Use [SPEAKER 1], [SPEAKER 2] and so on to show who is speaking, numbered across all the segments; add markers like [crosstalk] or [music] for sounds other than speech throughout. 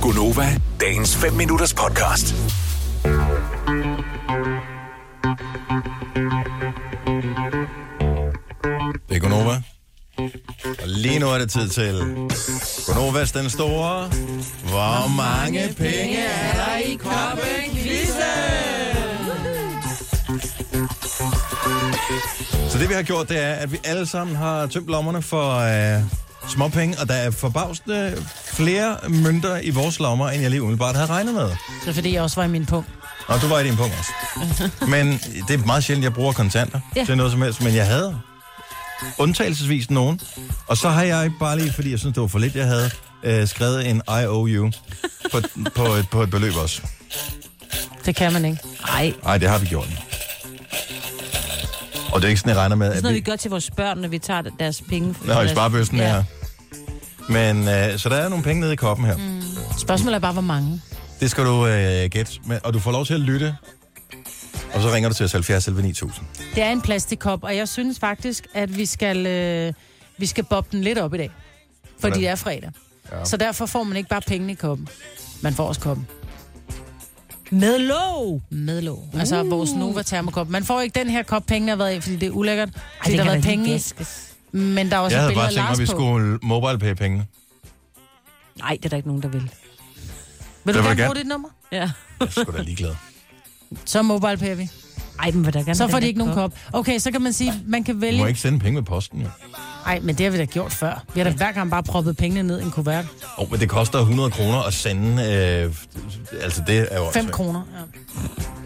[SPEAKER 1] Gunova, dagens 5 minutters podcast.
[SPEAKER 2] Det er Gonova. Og lige nu er det tid til Gonovas den store. Hvor mange penge er der i koppen Så det vi har gjort, det er, at vi alle sammen har tømt lommerne for øh, småpenge, og der er forbavsende flere mønter i vores lommer, end jeg lige umiddelbart havde regnet med.
[SPEAKER 3] Det er fordi, jeg også var i min punkt.
[SPEAKER 2] Og du var i din punkt også. Men det er meget sjældent, jeg bruger kontanter ja.
[SPEAKER 3] Ja.
[SPEAKER 2] til noget som helst, men jeg havde undtagelsesvis nogen. Og så har jeg bare lige, fordi jeg synes, det var for lidt, jeg havde øh, skrevet en IOU på, på, et, på et beløb også.
[SPEAKER 3] Det kan man ikke.
[SPEAKER 4] Nej,
[SPEAKER 2] Nej, det har vi gjort. Og det er ikke sådan, jeg regner med,
[SPEAKER 4] sådan
[SPEAKER 2] at
[SPEAKER 4] noget,
[SPEAKER 2] vi...
[SPEAKER 4] vi gør til vores børn, når vi tager deres penge. fra
[SPEAKER 2] Nå, i
[SPEAKER 4] deres-
[SPEAKER 2] sparebøsten ja.
[SPEAKER 4] ja.
[SPEAKER 2] her. Men, øh, så der er nogle penge nede i koppen her. Mm.
[SPEAKER 3] Spørgsmålet er bare, hvor mange.
[SPEAKER 2] Det skal du øh, gætte. Men, og du får lov til at lytte. Og så ringer du til os 70 11 9000.
[SPEAKER 3] Det er en plastikkop, og jeg synes faktisk, at vi skal, øh, vi skal bobbe den lidt op i dag. Fordi
[SPEAKER 2] Hvordan?
[SPEAKER 3] det er fredag.
[SPEAKER 2] Ja.
[SPEAKER 3] Ja. Så derfor får man ikke bare pengene i koppen. Man får også koppen.
[SPEAKER 4] Med låg!
[SPEAKER 3] Med låg. Altså vores Nova termokop. Man får ikke den her kop, pengene har været i, fordi det er ulækkert. Fordi der
[SPEAKER 4] det
[SPEAKER 3] har
[SPEAKER 4] kan
[SPEAKER 3] været
[SPEAKER 4] da lige
[SPEAKER 3] penge i,
[SPEAKER 4] gæskes.
[SPEAKER 3] men der er også
[SPEAKER 2] Jeg
[SPEAKER 3] et
[SPEAKER 2] havde
[SPEAKER 3] billede
[SPEAKER 2] bare
[SPEAKER 3] af
[SPEAKER 2] tænkt mig,
[SPEAKER 3] Lars
[SPEAKER 2] at vi
[SPEAKER 3] på.
[SPEAKER 2] skulle mobile penge.
[SPEAKER 4] Nej, det er der ikke nogen, der vil.
[SPEAKER 3] Vil du
[SPEAKER 2] Jeg vil
[SPEAKER 3] gerne
[SPEAKER 2] gerne.
[SPEAKER 3] bruge dit nummer?
[SPEAKER 4] Ja.
[SPEAKER 2] Jeg skulle da ligeglad.
[SPEAKER 3] Så mobile vi.
[SPEAKER 4] Ej, men vil der gerne
[SPEAKER 3] Så
[SPEAKER 4] den
[SPEAKER 3] får
[SPEAKER 4] der
[SPEAKER 3] de ikke nogen kop. Okay, så kan man sige, man kan
[SPEAKER 2] Du må
[SPEAKER 3] vælge...
[SPEAKER 2] ikke sende penge med posten, jo.
[SPEAKER 3] Nej, men det har vi da gjort før. Vi har da hver gang bare proppet pengene ned i en kuvert.
[SPEAKER 2] Oh, men det koster 100 kroner at sende... Øh, altså, det er jo...
[SPEAKER 3] 5
[SPEAKER 2] åndssvagt.
[SPEAKER 3] kroner. Ja.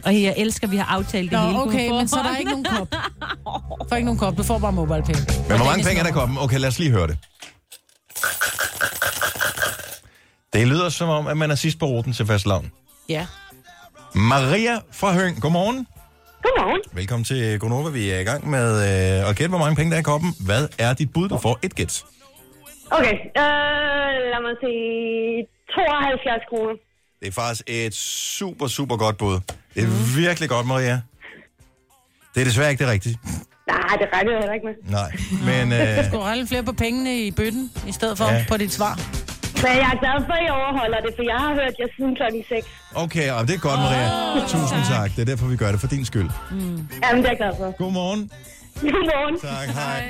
[SPEAKER 4] Og jeg elsker, at vi har aftalt det hele.
[SPEAKER 3] Nå,
[SPEAKER 4] på
[SPEAKER 3] okay, men
[SPEAKER 4] forhånd.
[SPEAKER 3] så er der ikke
[SPEAKER 4] [laughs]
[SPEAKER 3] nogen kop. Du får ikke nogen kop, du får bare mobile penge.
[SPEAKER 2] Men hvor mange penge er der i koppen? Okay, lad os lige høre det. Det lyder som om, at man er sidst på ruten til fastlavn.
[SPEAKER 3] Ja.
[SPEAKER 2] Maria fra Høng, godmorgen.
[SPEAKER 5] Godmorgen.
[SPEAKER 2] Velkommen til Gonova. Vi er i gang med øh, at gætte, hvor mange penge der er i koppen. Hvad er dit bud? Du får et gæt.
[SPEAKER 5] Okay, øh, lad mig se. 72 kroner.
[SPEAKER 2] Det er faktisk et super, super godt bud. Det er mm. virkelig godt, Maria. Det er desværre ikke det rigtige.
[SPEAKER 5] Nej, det regnede jeg heller ikke med.
[SPEAKER 2] Nej, men...
[SPEAKER 3] [laughs]
[SPEAKER 2] Øh,
[SPEAKER 3] Du har flere på pengene i bøtten, i stedet for
[SPEAKER 2] Ja.
[SPEAKER 3] ja. på dit svar.
[SPEAKER 5] Men jeg er glad for, at I overholder det, for jeg har hørt jer siden klokken 6.
[SPEAKER 2] Okay, og det er godt, Maria. Oh, Tusind tak. Det er derfor, vi gør det, for din skyld.
[SPEAKER 5] Jamen, det er jeg glad for. [laughs]
[SPEAKER 2] Godmorgen.
[SPEAKER 5] Godmorgen.
[SPEAKER 2] Tak, hej.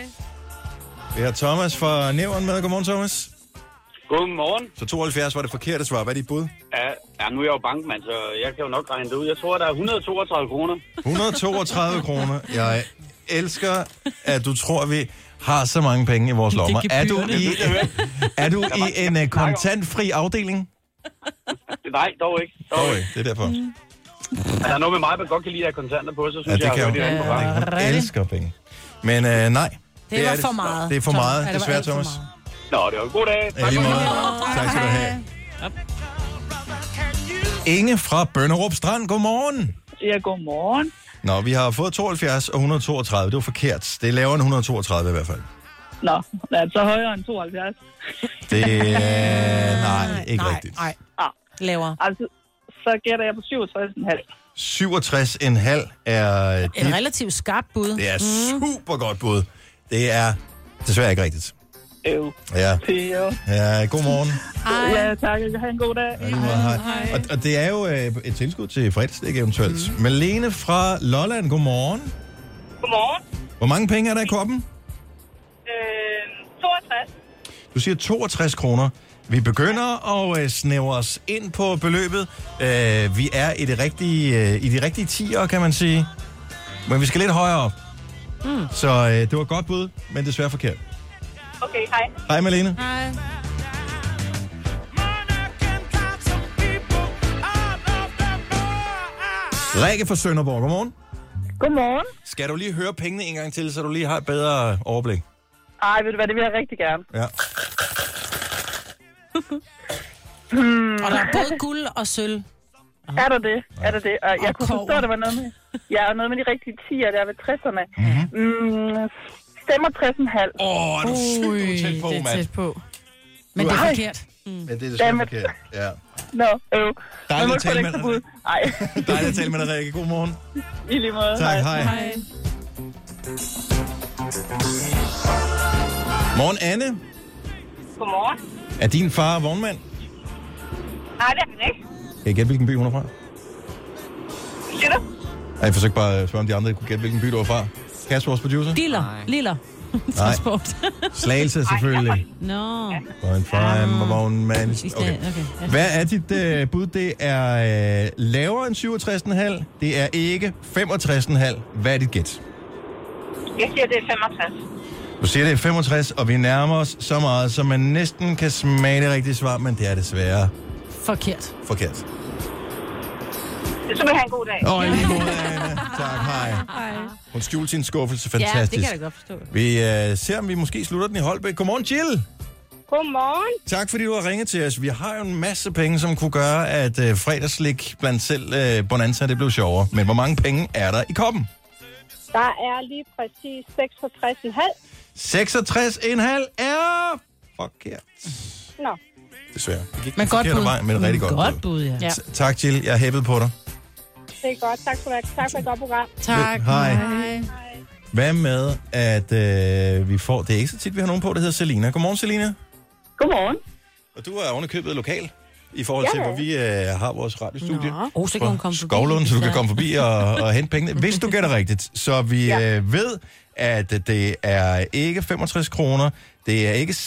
[SPEAKER 2] Vi har Thomas fra Nævren med. Godmorgen, Thomas.
[SPEAKER 6] Godmorgen.
[SPEAKER 2] Så 72 var det forkerte svar. Hvad er dit bud?
[SPEAKER 6] Ja, ja, nu er jeg jo bankmand, så jeg kan jo nok regne det ud. Jeg tror, der er 132 kroner.
[SPEAKER 2] 132 kroner. Jeg elsker, at du tror, vi har så mange penge i vores lommer. Er du i, er du i en øh, kontantfri afdeling?
[SPEAKER 6] Nej, dog ikke. Dog
[SPEAKER 2] Okay,
[SPEAKER 6] ikke.
[SPEAKER 2] det er derfor.
[SPEAKER 6] Er der noget med mig, man godt kan lide at have kontanter på, så
[SPEAKER 2] Mm. Ja,
[SPEAKER 6] synes
[SPEAKER 2] det
[SPEAKER 6] jeg,
[SPEAKER 2] kan
[SPEAKER 6] jeg,
[SPEAKER 2] jo.
[SPEAKER 6] at det er inde på banken.
[SPEAKER 2] Jeg elsker penge. Men øh, nej.
[SPEAKER 3] Det, var for meget.
[SPEAKER 2] Det er for
[SPEAKER 3] Thomas.
[SPEAKER 2] meget,
[SPEAKER 3] Ja, det var
[SPEAKER 2] desværre,
[SPEAKER 3] alt for
[SPEAKER 2] Thomas.
[SPEAKER 3] meget.
[SPEAKER 6] Nå, det var en god dag.
[SPEAKER 2] Ja, lige måde. Tak skal du have. Inge fra Bønderup Strand, godmorgen.
[SPEAKER 7] Ja, godmorgen.
[SPEAKER 2] Nå, vi har fået 72 og 132. Det var forkert. Det er lavere end 132 i hvert fald.
[SPEAKER 7] Nå, det er så højere end 72.
[SPEAKER 2] Det er... [laughs] Nej, ikke
[SPEAKER 3] nej,
[SPEAKER 2] rigtigt.
[SPEAKER 3] Nej,
[SPEAKER 7] Ah,
[SPEAKER 3] lavere.
[SPEAKER 7] altså, så gætter jeg på 67,5.
[SPEAKER 2] 67,5 er...
[SPEAKER 3] En
[SPEAKER 2] dit-
[SPEAKER 3] relativt skarp bud.
[SPEAKER 2] Det er super godt bud. Det er desværre ikke rigtigt.
[SPEAKER 7] Øv,
[SPEAKER 2] Ja,
[SPEAKER 7] det er jo-
[SPEAKER 2] ja godmorgen.
[SPEAKER 7] Ja, tak. Ha' en god dag.
[SPEAKER 2] Ja, lige måde. Hej. Og, og det er jo øh, et tilskud til fredagsdæk eventuelt. Mm. Malene fra Lolland, godmorgen.
[SPEAKER 7] Godmorgen.
[SPEAKER 2] Hvor mange penge er der i koppen?
[SPEAKER 7] Øh, 62.
[SPEAKER 2] Du siger 62 kroner. Vi begynder at øh, snævre os ind på beløbet. Øh, vi er i, det rigtige, øh, i de rigtige tiger, kan man sige. Men vi skal lidt højere op. Mm. Så øh, det var et godt bud, men desværre forkert.
[SPEAKER 7] Okay, hej.
[SPEAKER 2] Hej Malene. Rikke fra Sønderborg, godmorgen.
[SPEAKER 7] Godmorgen.
[SPEAKER 2] Skal du lige høre pengene en gang til, så du lige har et bedre overblik?
[SPEAKER 7] Ej, ved du hvad, det vil jeg rigtig gerne.
[SPEAKER 2] Ja.
[SPEAKER 3] Og der er både guld og sølv.
[SPEAKER 7] Er der det? Er der det? Og jeg
[SPEAKER 3] Og
[SPEAKER 7] kunne
[SPEAKER 3] kobber.
[SPEAKER 7] forstå, at der var noget med, ja, og noget med de rigtige 10'er der ved 60'erne. Mm-hmm. Mm, 65,5.
[SPEAKER 2] Mhm. Åh, er du sygt du er tæt på,
[SPEAKER 3] det er
[SPEAKER 2] mand.
[SPEAKER 3] tæt på. Men det er
[SPEAKER 2] Ej.
[SPEAKER 3] forkert.
[SPEAKER 2] Men det er
[SPEAKER 7] Damn it.
[SPEAKER 2] Ja.
[SPEAKER 7] Nå, øv. Man må
[SPEAKER 2] Dejligt at
[SPEAKER 7] ikke få
[SPEAKER 2] tale
[SPEAKER 7] det
[SPEAKER 2] med
[SPEAKER 7] ekstra
[SPEAKER 2] dig.
[SPEAKER 7] bud. Ej,
[SPEAKER 2] [laughs] Dejligt at tale med dig, Rikke. God morgen.
[SPEAKER 7] [laughs] i lige måde.
[SPEAKER 2] Tak, hej. Morgen, Anne.
[SPEAKER 7] Godmorgen.
[SPEAKER 2] Er din far vognmand?
[SPEAKER 7] Nej, det er han ikke.
[SPEAKER 2] Kan I gætte, hvilken by hun er fra?
[SPEAKER 7] Siger du?
[SPEAKER 2] Ej, jeg forsøgte bare at spørge, om de andre kunne gætte, hvilken by du var fra. Kasper, vores producer.
[SPEAKER 4] Diller. Liller. [laughs] Transport.
[SPEAKER 2] Slagelse, selvfølgelig.
[SPEAKER 4] Nå.
[SPEAKER 2] Fine,
[SPEAKER 4] Ah.
[SPEAKER 2] fine, morgen, man.
[SPEAKER 4] I stedet-
[SPEAKER 2] Okay.
[SPEAKER 4] okay, ja.
[SPEAKER 2] Hvad er dit øh, bud? Det er øh, lavere end 67,5. Det er ikke 65,5. Hvad er dit gæt?
[SPEAKER 7] Jeg siger, det er 65.
[SPEAKER 2] Du siger, det er 65, og vi nærmer os så meget, så man næsten kan smage det rigtige svar, men det er desværre
[SPEAKER 3] Forkert.
[SPEAKER 2] forkert.
[SPEAKER 7] Så vil jeg have en god dag.
[SPEAKER 2] Åh, i lige måde, Anna. Tak, hej. Hun skjulte sin skuffelse.
[SPEAKER 4] Ja, det
[SPEAKER 2] Fantastisk.
[SPEAKER 4] kan jeg da godt forstå.
[SPEAKER 2] Vi øh, ser, om vi måske slutter den i Holbæk. Godmorgen, Jill.
[SPEAKER 7] Godmorgen.
[SPEAKER 2] Tak, fordi du har ringet til os. Vi har jo en masse penge, som kunne gøre, at øh, fredagslik blandt selv øh, Bonanza, det blev sjovere. Men hvor mange penge er der i koppen?
[SPEAKER 7] Der er lige præcis 66,5.
[SPEAKER 2] 66,5 er forkert.
[SPEAKER 7] Nå.
[SPEAKER 2] Desværre. Det gik
[SPEAKER 3] Men
[SPEAKER 2] den
[SPEAKER 3] godt
[SPEAKER 2] forkerte
[SPEAKER 3] bud. Mm,
[SPEAKER 2] Vej, men rigtig godt,
[SPEAKER 4] Godt
[SPEAKER 2] bud.
[SPEAKER 4] bud, ja.
[SPEAKER 3] Ja.
[SPEAKER 2] T- Tak, Jill. Jeg hæppede på dig.
[SPEAKER 7] Det er godt. Tak for, tak for et godt program.
[SPEAKER 3] Tak.
[SPEAKER 2] Hej.
[SPEAKER 3] Hej.
[SPEAKER 2] Hvad med, at øh, vi får... Det er ikke så tit, vi har nogen på, der hedder Selina. Godmorgen, Selina.
[SPEAKER 5] Godmorgen.
[SPEAKER 2] Og du er ovenikøbet lokal i forhold til,
[SPEAKER 5] Ja, ja.
[SPEAKER 2] hvor vi øh, har vores radiostudie. Nå.
[SPEAKER 4] Åh, så kan hun komme forbi.
[SPEAKER 2] Skovlund, så du kan komme forbi og, og hente pengene, hvis du gætter rigtigt. Så vi ja. øh, ved, at det er ikke 65 kroner, det er ikke 66,5,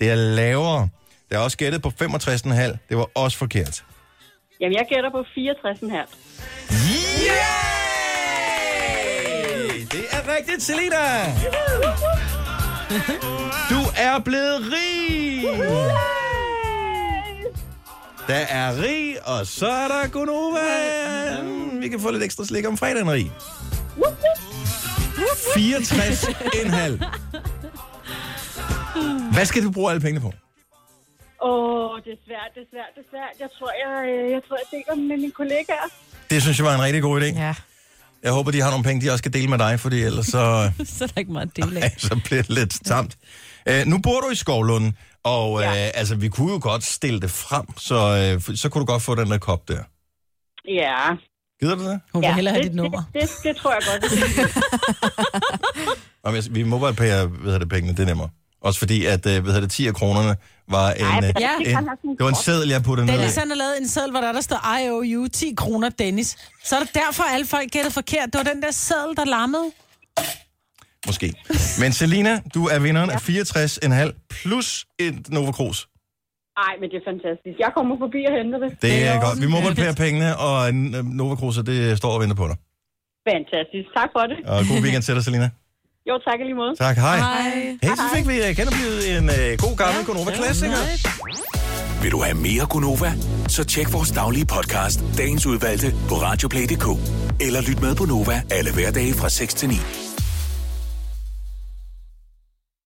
[SPEAKER 2] det er lavere. Der er også gættet på 65,5, det var også forkert.
[SPEAKER 5] Jamen, jeg gætter på 64 her.
[SPEAKER 2] Yay! Det er rigtigt, Selina! Du er blevet rig! Der er rig, og så er der Gunova. Vi kan få lidt ekstra slik om fredagen, rig. 64,5. Hvad skal du bruge alle pengene på?
[SPEAKER 5] Åh, det er svært, det er svært, det er svært. Jeg tror, jeg, øh, jeg, tror, jeg deler den med mine kollegaer.
[SPEAKER 2] Det synes jeg var en rigtig god idé.
[SPEAKER 3] Ja.
[SPEAKER 2] Jeg håber, de har nogle penge, de også skal dele med dig, fordi ellers så...
[SPEAKER 4] [laughs] så er der ikke meget at dele
[SPEAKER 2] [laughs] Ja,
[SPEAKER 4] af.
[SPEAKER 2] så bliver det lidt tamt. Øh, nu bor du i Skovlunden, og ja. øh, altså, vi kunne jo godt stille det frem, så, øh, f- så kunne du godt få den der kop der.
[SPEAKER 5] Ja.
[SPEAKER 2] Gider du det?
[SPEAKER 3] Hun vil
[SPEAKER 5] ja.
[SPEAKER 3] hellere have
[SPEAKER 5] det,
[SPEAKER 3] dit nummer.
[SPEAKER 5] Det, det, det, tror jeg godt.
[SPEAKER 7] [laughs]
[SPEAKER 2] Om jeg, vi må bare pære, hvad hedder det, pengene, det er nemmere. Også fordi, at øh, hvad hedder det, 10 af kronerne var en... øh,
[SPEAKER 5] ja.
[SPEAKER 2] en
[SPEAKER 5] han har sådan en
[SPEAKER 2] det var en
[SPEAKER 5] kop.
[SPEAKER 2] seddel, jeg puttede ned.
[SPEAKER 3] Dennis
[SPEAKER 2] i.
[SPEAKER 3] han har lavet en seddel, hvor der, der står IOU 10 kroner Dennis. Så er det derfor, alle folk gætter forkert. Det var den der seddel, der lammede.
[SPEAKER 2] Måske. Men Selina, du er vinderen af 64,5 plus et Nova Cruz.
[SPEAKER 5] Nej, men det er fantastisk. Jeg kommer forbi og henter det.
[SPEAKER 2] Det er
[SPEAKER 3] er
[SPEAKER 2] godt. Vi må
[SPEAKER 3] også
[SPEAKER 2] godt pære pengene, og øh, Nova Cruz, det står og venter på dig.
[SPEAKER 5] Fantastisk. Tak for det.
[SPEAKER 2] Og god weekend til dig, Selina.
[SPEAKER 5] Jo, tak i lige måde.
[SPEAKER 2] Tak, hej.
[SPEAKER 4] Hej.
[SPEAKER 2] Hey, så fik vi uh, genoplevet en uh, god gammel Gonova Klassiker.
[SPEAKER 1] Vil du have mere Gunova? Så tjek vores daglige podcast, dagens udvalgte, på radioplay.dk. Eller lyt med på Nova alle hverdage fra 6 til 9.